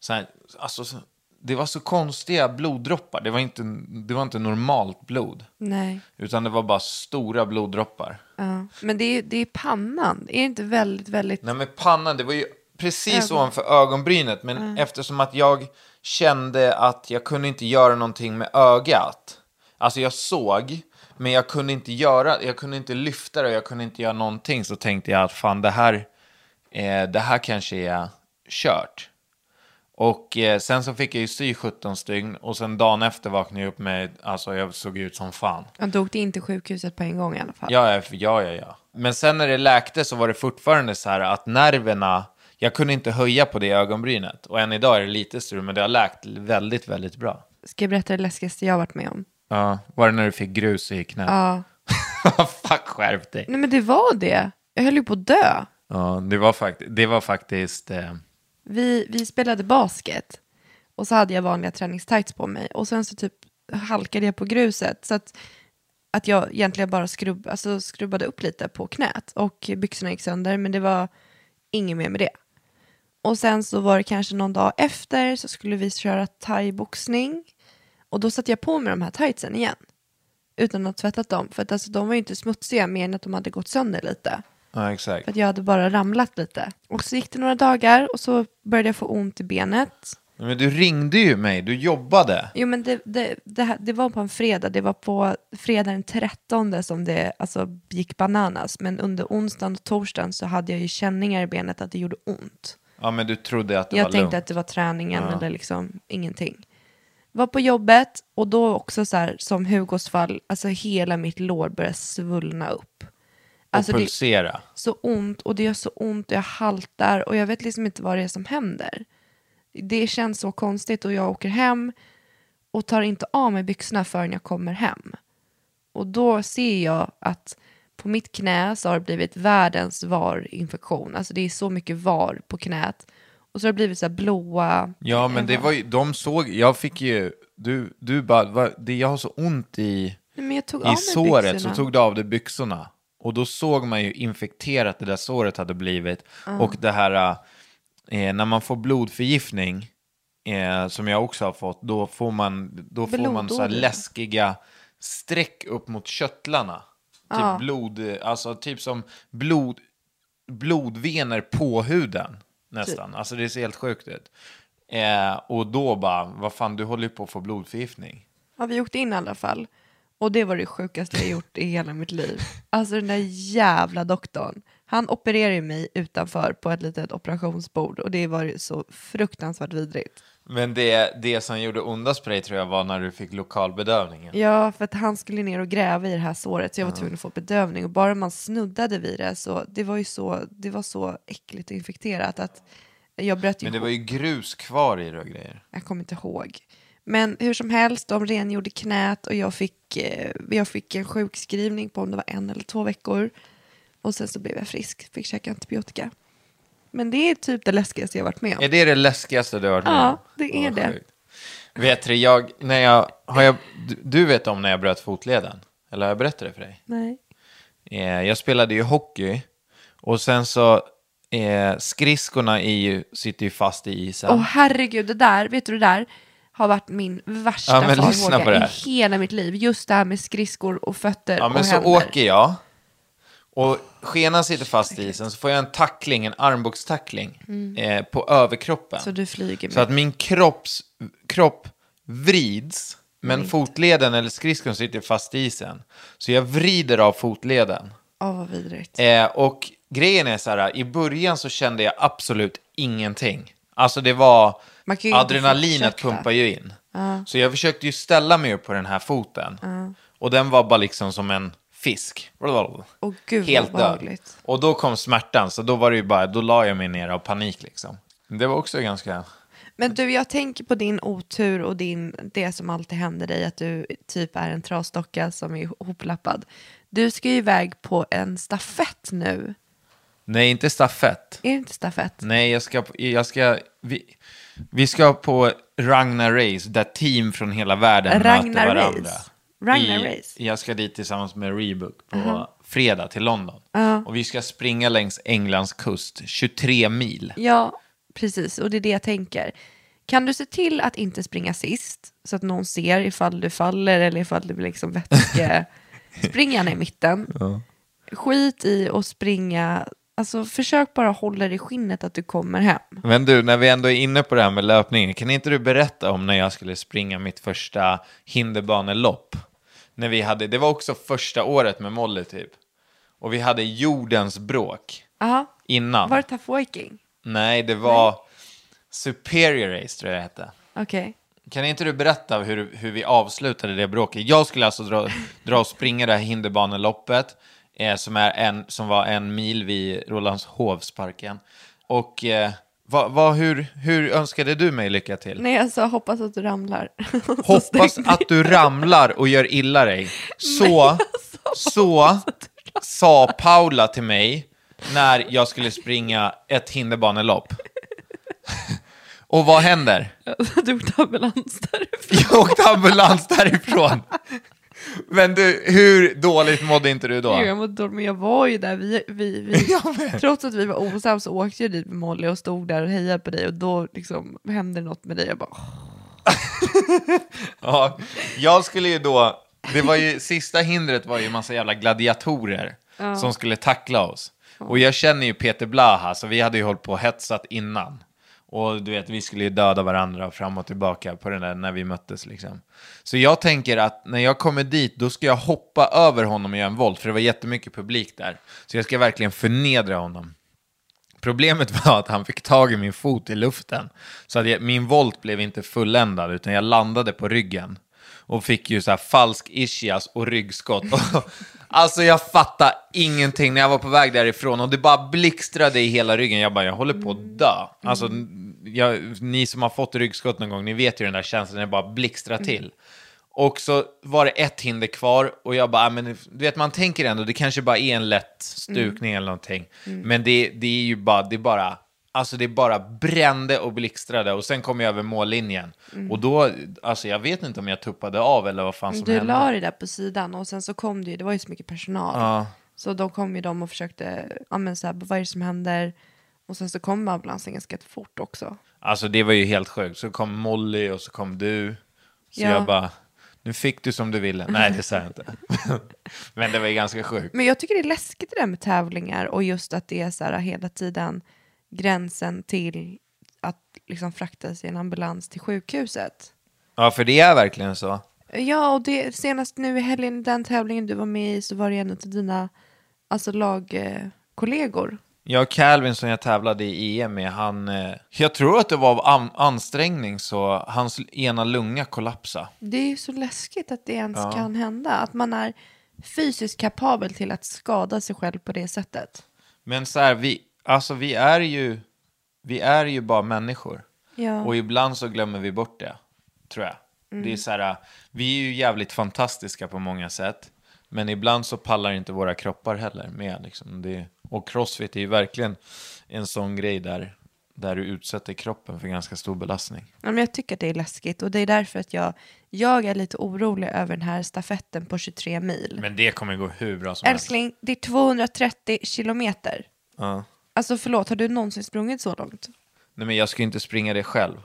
Så här, alltså, så- det var så konstiga bloddroppar. Det var inte, det var inte normalt blod.
Nej.
Utan det var bara stora bloddroppar.
Ja. Men det är, det är pannan, är det inte väldigt, väldigt...
Nej men pannan, det var ju precis ovanför ögonbrynet. Men eftersom att jag kände att jag kunde inte göra någonting med ögat. Alltså jag såg, men jag kunde inte göra, jag kunde inte lyfta det och jag kunde inte göra någonting. Så tänkte jag att fan det här, eh, det här kanske är kört. Och eh, sen så fick jag ju sy 17 stygn och sen dagen efter vaknade jag upp med, alltså jag såg ut som fan.
Han dog till inte sjukhuset på en gång i alla fall.
Ja, ja, ja, ja, ja. Men sen när det läkte så var det fortfarande så här att nerverna, jag kunde inte höja på det ögonbrynet. Och än idag är det lite strul, men det har läkt väldigt, väldigt bra.
Ska jag berätta det läskigaste jag har varit med om?
Ja, var det när du fick grus i knät?
Ja.
[laughs] Fuck, skärp dig.
Nej men det var det. Jag höll ju på att dö.
Ja, det var, fakt- det var faktiskt... Eh...
Vi, vi spelade basket och så hade jag vanliga träningstights på mig och sen så typ halkade jag på gruset så att, att jag egentligen bara skrubb, alltså skrubbade upp lite på knät och byxorna gick sönder men det var inget mer med det. Och sen så var det kanske någon dag efter så skulle vi köra thaiboxning och då satte jag på mig de här tightsen igen utan att ha tvättat dem för att alltså, de var ju inte smutsiga mer än att de hade gått sönder lite.
Ja, exakt.
För att jag hade bara ramlat lite. Och så gick det några dagar och så började jag få ont i benet.
Men du ringde ju mig, du jobbade.
Jo men det, det, det, här, det var på en fredag, det var på fredag den 13 som det alltså, gick bananas. Men under onsdagen och torsdagen så hade jag ju känningar i benet att det gjorde ont.
Ja, men du trodde att det
jag
var
tänkte
lugnt.
att det var träningen eller liksom ingenting. Var på jobbet och då också så här som Hugos fall, alltså hela mitt lår började svullna upp. Alltså,
och
det-
pulsera.
så ont och det gör så ont och jag haltar och jag vet liksom inte vad det är som händer. Det känns så konstigt och jag åker hem och tar inte av mig byxorna förrän jag kommer hem. Och då ser jag att på mitt knä så har det blivit världens varinfektion. Alltså det är så mycket var på knät. Och så har det blivit så här blåa...
Ja, men det var ju, de såg, jag fick ju, du, du bara, "Va? det, jag har så ont i,
Nej, men jag tog av
i
mig
såret,
byxorna.
så tog du av dig byxorna. Och då såg man ju infekterat det där såret hade blivit. Och det här, eh, när man får blodförgiftning, eh, som jag också har fått, då får man, då får man så här
Blodåder.
läskiga streck upp mot köttlarna. Typ blod, alltså typ som blod, blodvener på huden nästan.
Typ.
Alltså det ser helt sjukt ut. Eh, och då bara, vad fan du håller ju på att få blodförgiftning.
Ja, vi åkte in i alla fall. Och det var det sjukaste jag gjort i hela mitt liv. Alltså den där jävla doktorn. Han opererade ju mig utanför på ett litet operationsbord och det var ju så fruktansvärt vidrigt.
Men det, det som gjorde ondast på dig tror jag var när du fick lokalbedövningen.
Ja, för att han skulle ner och gräva i det här såret så jag var tvungen att få bedövning och bara man snuddade vid det så det var ju så, det var så äckligt och infekterat att jag bröt
Men
ihop.
det var ju grus kvar i det och grejer.
Jag kommer inte ihåg. Men hur som helst, de rengjorde knät och jag fick, eh, jag fick en sjukskrivning på om det var en eller två veckor. Och sen så blev jag frisk, fick käka antibiotika. Men det är typ det läskigaste jag varit med
Är
om.
det det läskigaste du har varit med
Ja,
om?
det är
Vad
det.
sjukt. Vet du, jag, när jag, har jag, du- du vet om när jag bröt fotleden? Eller har jag berättat det för dig?
Nej.
Eh, jag spelade ju hockey och sen så, eh, skridskorna är ju, sitter ju fast i isen.
Åh herregud, det där, vet du det där har varit min värsta
Ja, men lyssna på
farhåga
det
i
här.
hela mitt liv. Just det här med skridskor och fötter
Ja, men
och
så
händer.
åker jag. Och skenan sitter fast i isen, så får jag en tackling, en armbågstackling eh, på överkroppen.
Mm. Så du flyger
Så
med.
att min kropps, kropp vrids, men
Mm.
fotleden eller skridskon sitter fast i isen. Så jag vrider av fotleden.
Åh vad vidrigt.
Eh, och grejen är så här, i början så kände jag absolut ingenting. Alltså det var,
Man kan ju inte
adrenalinet
fortsätta.
pumpar ju in. Så jag försökte ju ställa mig upp på den här foten. Och den var bara liksom som en fisk.
Åh, gud, vad
Helt död.
obehagligt.
Och då kom smärtan, så då var det ju bara, då la jag mig ner av panik liksom. Det var också ganska...
Men du, jag tänker på din otur och din, det som alltid händer dig, att du typ är en trasdocka som är hoplappad. Du ska ju iväg på en stafett nu.
Nej, inte stafett.
Är det inte stafett?
Nej, jag ska, jag ska, vi, vi ska på Ragnar Race, där team från hela världen
Ragnar
möter varandra.
Race. Ragnar
I,
Race.
Jag ska dit tillsammans med Rebook på fredag till London. Och vi ska springa längs Englands kust, 23 mil.
Ja, precis. Och det är det jag tänker. Kan du se till att inte springa sist så att någon ser ifall du faller eller ifall du blir liksom vätske... Spring gärna i mitten. Skit i att springa. Alltså försök bara hålla dig i skinnet att du kommer hem.
Men du, när vi ändå är inne på det här med löpningen, kan inte du berätta om när jag skulle springa mitt första hinderbanelopp? När vi hade, det var också första året med Molly typ. Och vi hade jordens bråk
Ja,
innan.
var det Tough Viking?
Nej, det var Superior Race tror jag det hette.
Okej.
Kan inte du berätta hur, hur vi avslutade det bråket? Jag skulle alltså dra, dra och springa det här hinderbaneloppet eh, som, är en, som var en mil vid Rålambshovsparken. Och eh, vad- vad- hur, hur önskade du mig lycka till?
Nej, jag sa hoppas att du ramlar. [laughs]
Hoppas att du ramlar och gör illa dig. Så, så sa Paula till mig när jag skulle springa ett hinderbanelopp. [laughs] Och vad händer?
du åkte ambulans därifrån.
Jag åkte ambulans därifrån. Men du, hur dåligt mådde inte du
Jo,
då?
Jag mådde dåligt, men jag var ju där. Vi, vi,
[laughs]
vi, trots att vi var osams så åkte jag dit med Molly och stod där och hejade på dig och då liksom hände något med dig. Jag bara, "Åh."
Ja, jag skulle ju då, det var ju, sista hindret var ju en massa jävla gladiatorer som skulle tackla oss. Och jag känner ju Peter Blaha, så vi hade ju hållit på och hetsat innan. Och du vet, vi skulle ju döda varandra fram och tillbaka på den där när vi möttes liksom. Så jag tänker att när jag kommer dit, då ska jag hoppa över honom och göra en volt, för det var jättemycket publik där. Så jag ska verkligen förnedra honom. Problemet var att han fick tag i min fot i luften. Så att jag, min volt blev inte fulländad utan jag landade på ryggen. Och fick ju så här falsk ischias och ryggskott. [laughs] Och, alltså jag fattade ingenting när jag var på väg därifrån. Och det bara blixtrade i hela ryggen. Jag bara, jag håller på att dö. Alltså n- jag, ni som har fått ryggskott någon gång, ni vet ju den där känslan när det bara blixtrar till. Och så var det ett hinder kvar och jag bara, ah, men du vet man tänker ändå, det kanske bara är en
Mm.
lätt stukning eller någonting. Men det, det är ju bara, det är bara, alltså det bara brände och blixtrade och sen kom jag över mållinjen.
Mm.
Och då, alltså jag vet inte om jag tuppade av eller vad fan som
du
hände.
la dig där på sidan och sen så kom det ju, det var ju så mycket personal. Så då kom ju de och försökte, ja men så här, vad är det som händer? Och sen så kom ambulansen ganska fort också.
Alltså det var ju helt sjukt. Så kom Molly och så kom du. Så
Ja.
jag bara, nu fick du som du ville. Nej, det sa jag inte. [laughs] men det var ju ganska sjukt.
Men jag tycker det är läskigt det där med tävlingar och just att det är så här hela tiden gränsen till att liksom fraktas i en ambulans till sjukhuset.
Ja, för det är verkligen så.
Ja, och det, senast nu i helgen, den tävlingen du var med i, så var det en av dina alltså, lagkollegor.
Jag och Calvin som jag tävlade i EM med, han... eh, Jag tror att det var av an- ansträngning så hans ena lunga kollapsade.
Det är ju så läskigt att det ens kan hända, att man är fysiskt kapabel till att skada sig själv på det sättet.
Men så här, vi, alltså vi är ju... Vi är ju bara människor.
Ja. Mm.
Och ibland så glömmer vi bort det, tror jag. Det är så här, vi är ju jävligt fantastiska på många sätt. Men ibland så pallar inte våra kroppar heller med. Liksom. Det, och crossfit är ju verkligen en sån grej där, där du utsätter kroppen för ganska stor belastning.
Ja, men jag tycker att det är läskigt och det är därför att jag, jag är lite orolig över den här stafetten på 23 mil.
Men det kommer gå hur bra som helst.
Älskling, det är 230 kilometer.
Ja.
Alltså förlåt, har du någonsin sprungit så långt?
Nej men jag ska ju inte springa det själv.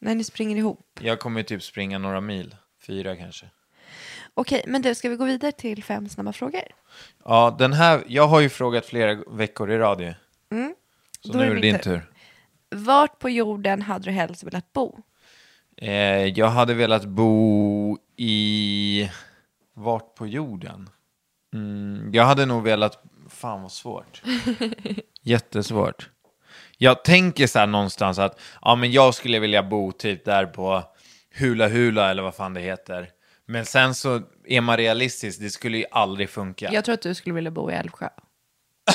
När ni springer ihop.
Jag kommer ju typ springa några mil. Fyra kanske.
Okej, men du, ska vi gå vidare till fem snabba frågor?
Ja, den här, jag har ju frågat flera veckor i radio. Så
Mm. Då
nu
är
är det
min
din
tur.
tur.
Vart på jorden hade du helst velat bo?
Eh, jag hade velat bo i... Vart på jorden? Mm, jag hade nog velat... Fan
[laughs]
vad svårt. Jättesvårt. Jag tänker så här någonstans att ja, men jag skulle vilja bo typ där på Hula Hula eller vad fan det heter. Men sen så är man realistisk, det skulle ju aldrig funka.
Jag tror att du skulle vilja bo i Älvsjö.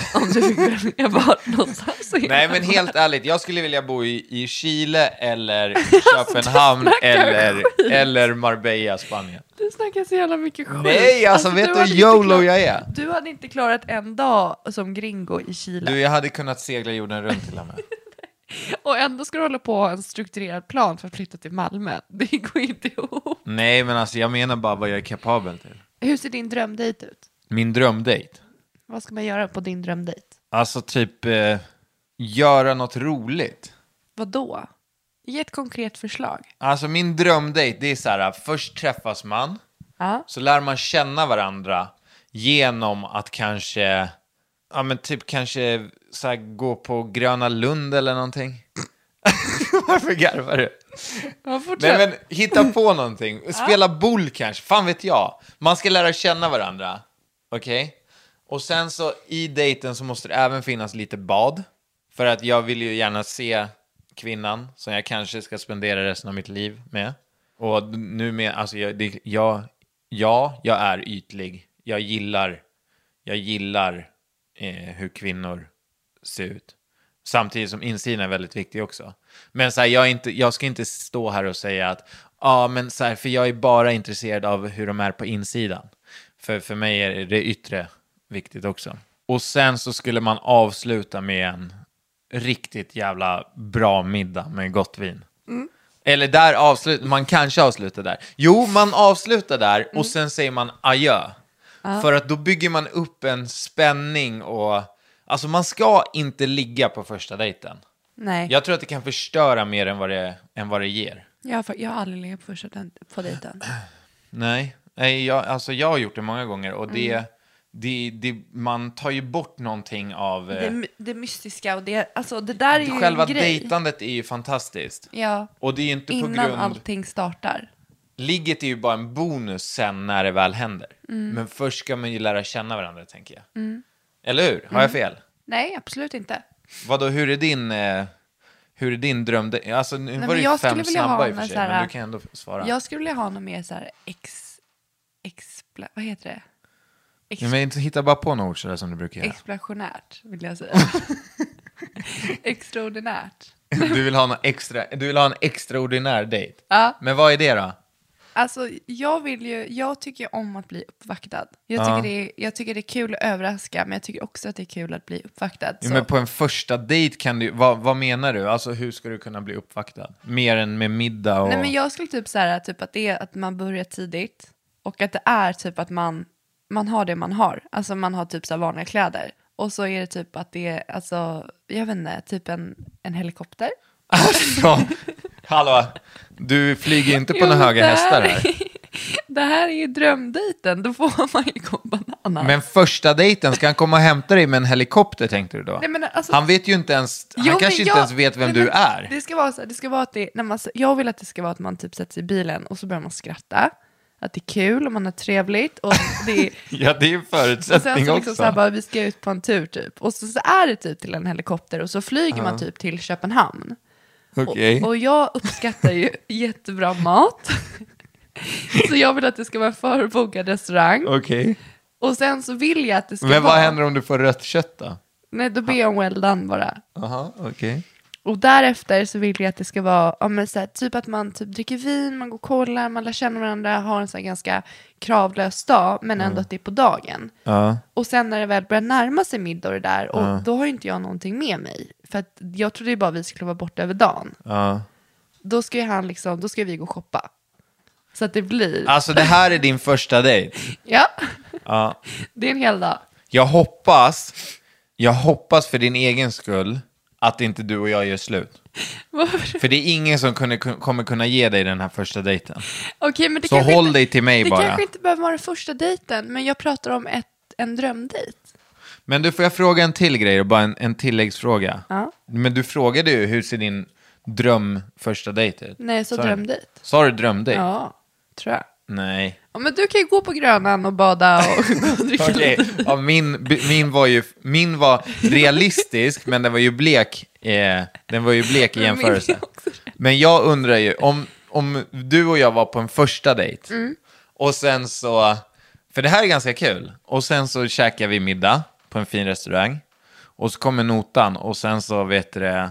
[laughs] Om du fick välja vart någonstans.
Nej men helt ärligt, jag skulle vilja bo i,
[laughs]
i Chile eller Köpenhamn
snackar
eller,
Alltså, skit.
eller Marbella, Spanien.
Du Du snackar så jävla mycket skit.
Nej, alltså, vet du
hade
hur
inte
YOLO
klarat-
jag är?
Du hade inte klarat en dag som gringo i Chile.
Du, jag hade kunnat segla jorden runt till och med.
Och ändå ska du hålla på och ha en strukturerad plan för att flytta till Malmö. Det går inte ihop.
[laughs] Nej, men alltså jag menar bara vad jag är kapabel till.
Hur ser din drömdejt ut?
Min drömdejt.
Vad ska man göra på din drömdejt?
Alltså typ eh, göra något roligt.
Vad då? Ge ett konkret förslag.
Alltså min drömdejt, det är så här, först träffas man,
Ja.
så lär man känna varandra genom att kanske, ja men typ kanske så här, gå på Gröna Lund eller någonting. [laughs] Varför garvar du? Nej men hitta på någonting, spela boule kanske, fan vet jag. Man ska lära känna varandra, okej? Och sen så i dejten så måste det även finnas lite bad. För att jag vill ju gärna se kvinnan som jag kanske ska spendera resten av mitt liv med. Och nu med, alltså jag, det, jag, ja, jag är ytlig. Jag gillar, jag gillar eh, hur kvinnor ser ut. Samtidigt som insidan är väldigt viktig också. Men så här, jag, är inte, jag ska inte stå här och säga att ja, men så här, för jag är bara intresserad av hur de är på insidan. För, för mig är det yttre viktigt också. Och sen så skulle man avsluta med en riktigt jävla bra middag med gott vin. Eller där avslutar, man kanske avslutar där. Jo, man avslutar där
Mm.
och sen säger man adjö. För att då bygger man upp en spänning och, alltså man ska inte ligga på första dejten.
Nej.
Jag tror att det kan förstöra mer än vad det, än vad det ger.
Jag, har, fa- jag har aldrig legat på första den, på dejten.
[clears throat] Nej, Nej jag, alltså jag har gjort det många gånger och det,
Mm.
det, det, man tar ju bort någonting av... eh,
Det, det mystiska och det, alltså det där är ju
Själva
en grej.
dejtandet är ju fantastiskt.
Ja.
Och det är ju inte
Innan
på grund...
allting startar.
Ligget är ju bara en bonus sen när det väl händer. Men först ska man ju lära känna varandra, tänker jag. Eller hur? Har
Mm.
jag fel?
Nej, absolut inte.
Vadå, hur är din... Eh, hur är din dröm? Det- Alltså, nu
men
var det ju
jag
fem
skulle vilja ha
snabba i och för
någon
sig,
så här-
men du kan ändå svara.
Jag skulle vilja ha något mer så här ex... Expla, vad heter det? Ex,
Nej, Men hitta bara på något ord sådär som du
[laughs]
brukar göra.
Explosionärt, vill jag
[laughs]
säga. Extraordinärt.
Du vill ha, någon extra, du vill ha en extraordinär dejt.
Ja.
Men vad är det då?
Alltså, jag, vill ju, jag tycker ju om att bli uppvaktad. Jag tycker, det är, jag tycker det är kul att överraska, men jag tycker också att det är kul att bli uppvaktad.
Jo,
Så-
men på en första dejt kan du vad, vad menar du? Alltså hur ska du kunna bli uppvaktad? Mer än med middag och...
Nej, men jag skulle typ så här, typ att det är att man börjar tidigt och att det är typ att man, man har det man har. Alltså man har typ så här vanliga kläder. Och så är det typ att det är, alltså, jag vet inte, typ en, en helikopter.
Alltså, hallå, du flyger inte på
Jo,
några höga
det
hästar här.
Det här [laughs] är ju drömdejten, då får man ju gå bananas.
Men första dejten, ska han komma och hämta dig med en helikopter tänkte du då?
Nej, men alltså-
han vet ju inte ens,
Jo,
han
men
kanske
jag-
inte ens vet vem
Nej,
du
men
är.
Det ska vara så här, det ska vara att det, när man, jag vill att det ska vara att man typ sätter sig i bilen och så börjar man skratta. Att det är kul och man har trevligt och det
[laughs]
är
Ja, det är en
Och sen
förutsättning
så
också.
liksom så här bara, vi ska ut på en tur typ. Och så, så är det typ till en helikopter och så flyger man typ till Köpenhamn.
Okej.
Och, och jag uppskattar ju [laughs] jättebra mat. [laughs] så jag vill att det ska vara en förbokad restaurang.
Okej.
Och sen så vill jag att det ska
Men
vara...
vad händer om du får rött kött då?
Nej, då ber jag om well done bara.
Aha, okej.
Och därefter så vill jag att det ska vara, ja, men så här, typ att man typ dricker vin, man går och kollar, man lär känna varandra, har en så här ganska kravlös dag, men ändå att det är på dagen.
Ja.
Och sen när det väl börjar närma sig middag och det där, och då har ju inte jag någonting med mig. För att jag trodde ju bara vi skulle vara borta över dagen.
Ja.
Då ska ju han liksom, då ska vi gå och shoppa. Så att det blir,
Alltså det här är din första dejt.
ja,
Ja.
[laughs] det är en hel dag.
Jag hoppas, jag hoppas för din egen skull att inte du och jag gör slut.
Varför?
För det är ingen som kunde, kommer kunna ge dig den här första dejten.
Okej, men det
Så
kanske
håll
inte,
dig till mig
det
bara.
kanske inte behöver vara den första dejten, men jag pratar om ett, en drömdejt.
Men du, får jag fråga en till grej och bara en, en tilläggsfråga?
Ja.
Men du frågade ju, hur ser din dröm första dejt ut?
Nej, så
Sa du-
drömdejt.
Sa du drömdejt?
Ja, tror jag.
Nej.
Ja, men du kan ju gå på Grönan och bada och [laughs] gå och dricka
Okej,
lite.
ja, min, b- min var ju min var realistisk, men den var ju blek, eh, den var ju blek i
Men min
jämförelse.
är också
Men jag undrar ju, om, om du och jag var på en första dejt,
Mm.
och sen så, för det här är ganska kul, och sen så käkar vi middag på en fin restaurang, och så kommer notan, och sen så vet du det,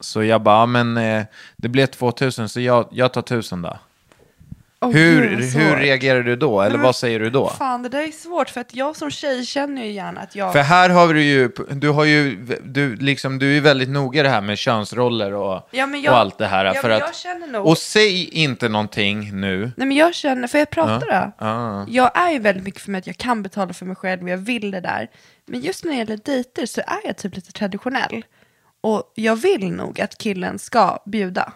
så jag bara, ja, men eh, det blev 2000, så jag, jag tar 1000 då.
Åh,
hur,
gud, vad
hur
svårt.
reagerar du då? Eller
men-
vad säger du då?
Fan, det där är svårt för att jag som tjej känner ju gärna att jag...
För här har du ju, du har ju, du liksom, du är väldigt noga i det här med könsroller och,
Ja, men jag-
och allt det här.
Ja,
för
men
att,
jag känner nog-
Och säg inte någonting nu.
Nej men jag känner, får jag prata då?
Ja.
Jag är ju väldigt mycket för mig att jag kan betala för mig själv och jag vill det där. Men just när det gäller dejter så är jag typ lite traditionell. Och jag vill nog att killen ska bjuda.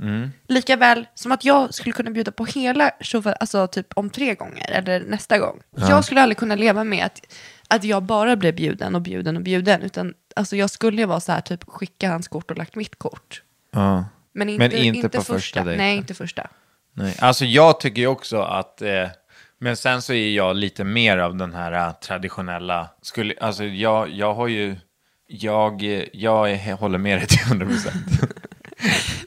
Mm.
Likaväl som att jag skulle kunna bjuda på hela tjofa, alltså typ om tre gånger eller nästa gång. Jag skulle aldrig kunna leva med att, att jag bara blir bjuden och bjuden och bjuden. Utan alltså jag skulle ju vara så här typ skicka hans kort och lagt mitt kort.
Ja.
Men inte,
Men inte på första dejten.
Nej, inte första.
Nej. Alltså jag tycker ju också att, eh, men sen så är jag lite mer av den här eh, traditionella, skulle, alltså jag, jag har ju, jag, eh, jag är, håller med dig till 100 procent. [laughs]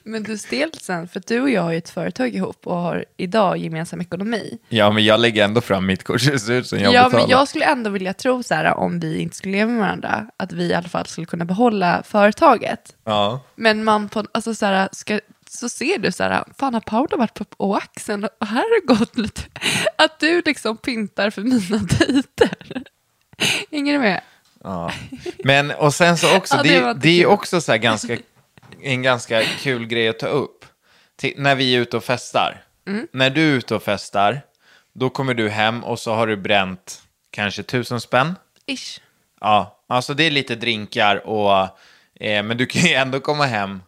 Men du är stelt sen, för du och jag har ju ett företag ihop och har idag gemensam ekonomi.
ja men jag lägger ändå fram mitt kort, det ser ut som jag
ja,
betalar.
men jag skulle ändå vilja tro så här, om vi inte skulle leva med varandra, att vi i alla fall skulle kunna behålla företaget.
Ja.
Men man på, alltså så här, ska, så ser du så här, fan har Paula varit på oaxen och här har det gått lite, att du liksom pyntar för mina [laughs] dejter. Hänger du med?
Ja. Men och sen så också,
Ja, det
det,
var
det,
inte
är
kul.
också så här ganska, en ganska kul grej att ta upp. Ti- när vi är ute och festar.
Mm.
När du är ute och festar, då kommer du hem och så har du bränt kanske tusen spänn.
Ish.
Ja, alltså det är lite drinkar och, eh, men du kan ju ändå komma hem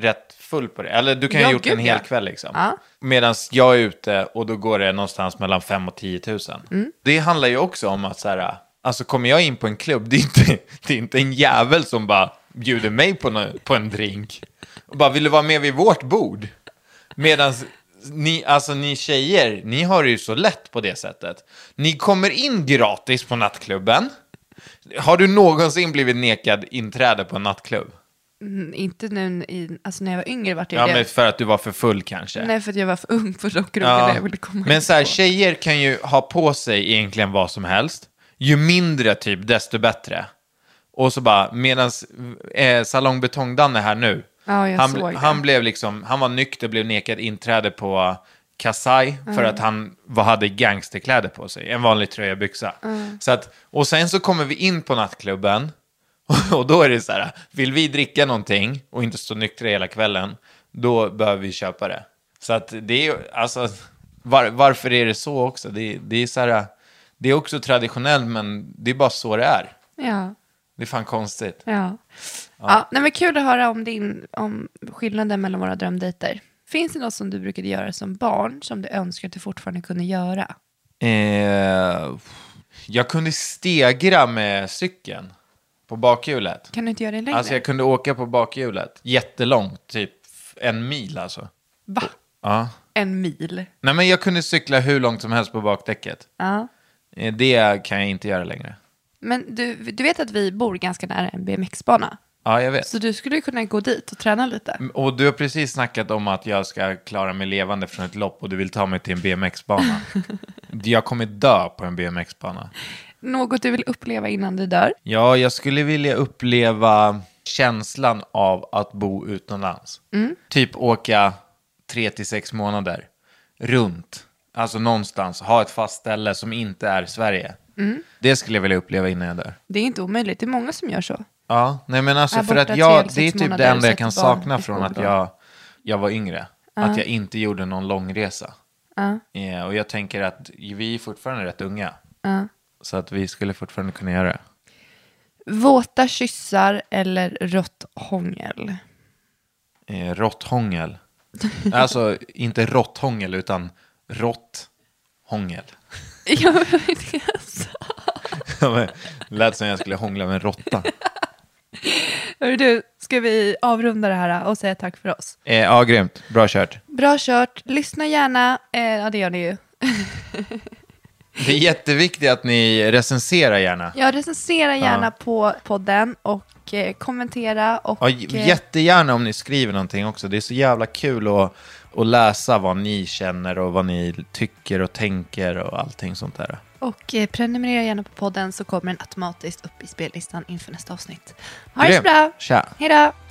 rätt full på det. Eller du kan ju
Ja,
ha gjort en
gud,
hel
ja.
kväll liksom.
Ja.
Medan jag är ute och då går det någonstans mellan 5 och 10 000.
Mm.
Det handlar ju också om att så här, alltså kommer jag in på en klubb, [laughs] det är inte, det är inte en jävel som bara bjuder mig på, nå- på en drink. Och bara, vill du vara med vid vårt bord? Medan ni, alltså ni tjejer, ni har det ju så lätt på det sättet. Ni kommer in gratis på nattklubben. Har du någonsin blivit nekad inträde på en nattklubb?
Mm, inte nu i, alltså när jag var yngre vart jag
Ja,
det.
men för att du var för full kanske.
Nej, för att jag var för ung för de krogarna
ja.
jag ville komma in
Men så här,
på.
tjejer kan ju ha på sig egentligen vad som helst. Ju mindre typ, desto bättre. Och så bara, medan eh, Salong Betong-Danne här nu,
Ja, jag
han,
såg det.
han blev liksom, han var nykter, blev nekad inträde på Kasai för att han var, hade gangsterkläder på sig, en vanlig tröja och byxa. Så att, och sen så kommer vi in på nattklubben [laughs] och då är det så här, vill vi dricka någonting och inte stå nyktra hela kvällen, då behöver vi köpa det. Så att det är ju, alltså, var, varför är det så också? Det, det är så här, det är också traditionellt men det är bara så det är.
Ja.
Det är fan konstigt.
Ja. ja. nej, men kul att höra om, din, om skillnaden mellan våra drömdejter. Finns det något som du brukade göra som barn som du önskar att du fortfarande kunde göra?
Eh, jag kunde stegra med cykeln på bakhjulet.
Kan du inte göra det längre?
Alltså jag kunde åka på bakhjulet jättelångt, typ en mil alltså.
Va?
Ja.
En mil?
Nej men jag kunde cykla hur långt som helst på bakdäcket.
Ja.
Eh, Det kan jag inte göra längre.
Men du, du vet att vi bor ganska nära en BMX-bana.
Ja, jag vet.
Så du skulle ju kunna gå dit och träna lite.
Och du har precis snackat om att jag ska klara mig levande från ett lopp och du vill ta mig till
[laughs]
en BMX-bana. jag kommer dö på en BMX-bana.
Något du vill uppleva innan du dör.
Ja, jag skulle vilja uppleva känslan av att bo utomlands.
Mm.
Typ åka tre till sex månader runt, alltså någonstans, ha ett fast ställe som inte är Sverige.
Mm.
Det skulle jag vilja uppleva innan jag dör.
Det är inte omöjligt. Det är många som gör så.
Ja, nej men alltså
Är
för
borta
att
tre,
jag, det är
sex
typ det
månader,
enda jag
sätter
kan
barn
sakna
i
från att
fordon.
jag, jag var yngre. Att jag inte gjorde någon långresa. Eh, och jag tänker att vi är fortfarande rätt unga. Så att vi skulle fortfarande kunna göra det.
Våta kyssar eller rått
[laughs]
hångel?
eh, råtthångel. [laughs] Alltså inte råtthångel utan råtthångel. [laughs]
Jag vet inte.
Lät som jag skulle hångla med en råtta.
Hörru du, ska vi avrunda det här och säga tack för oss?
Eh, ja, grymt. Bra kört.
Bra kört. Lyssna gärna. Eh, ja, det gör ni ju.
Det är jätteviktigt att ni recenserar gärna.
Ja, recensera gärna på podden och eh, kommentera och...
Ja,
eh,
jättegärna om ni skriver någonting också. Det är så jävla kul att, att läsa vad ni känner och vad ni tycker och tänker och allting sånt där.
och eh, prenumerera gärna på podden så kommer den automatiskt upp i spellistan inför nästa avsnitt. Ha det så
Grymt.
bra.
Tja.
Hej då.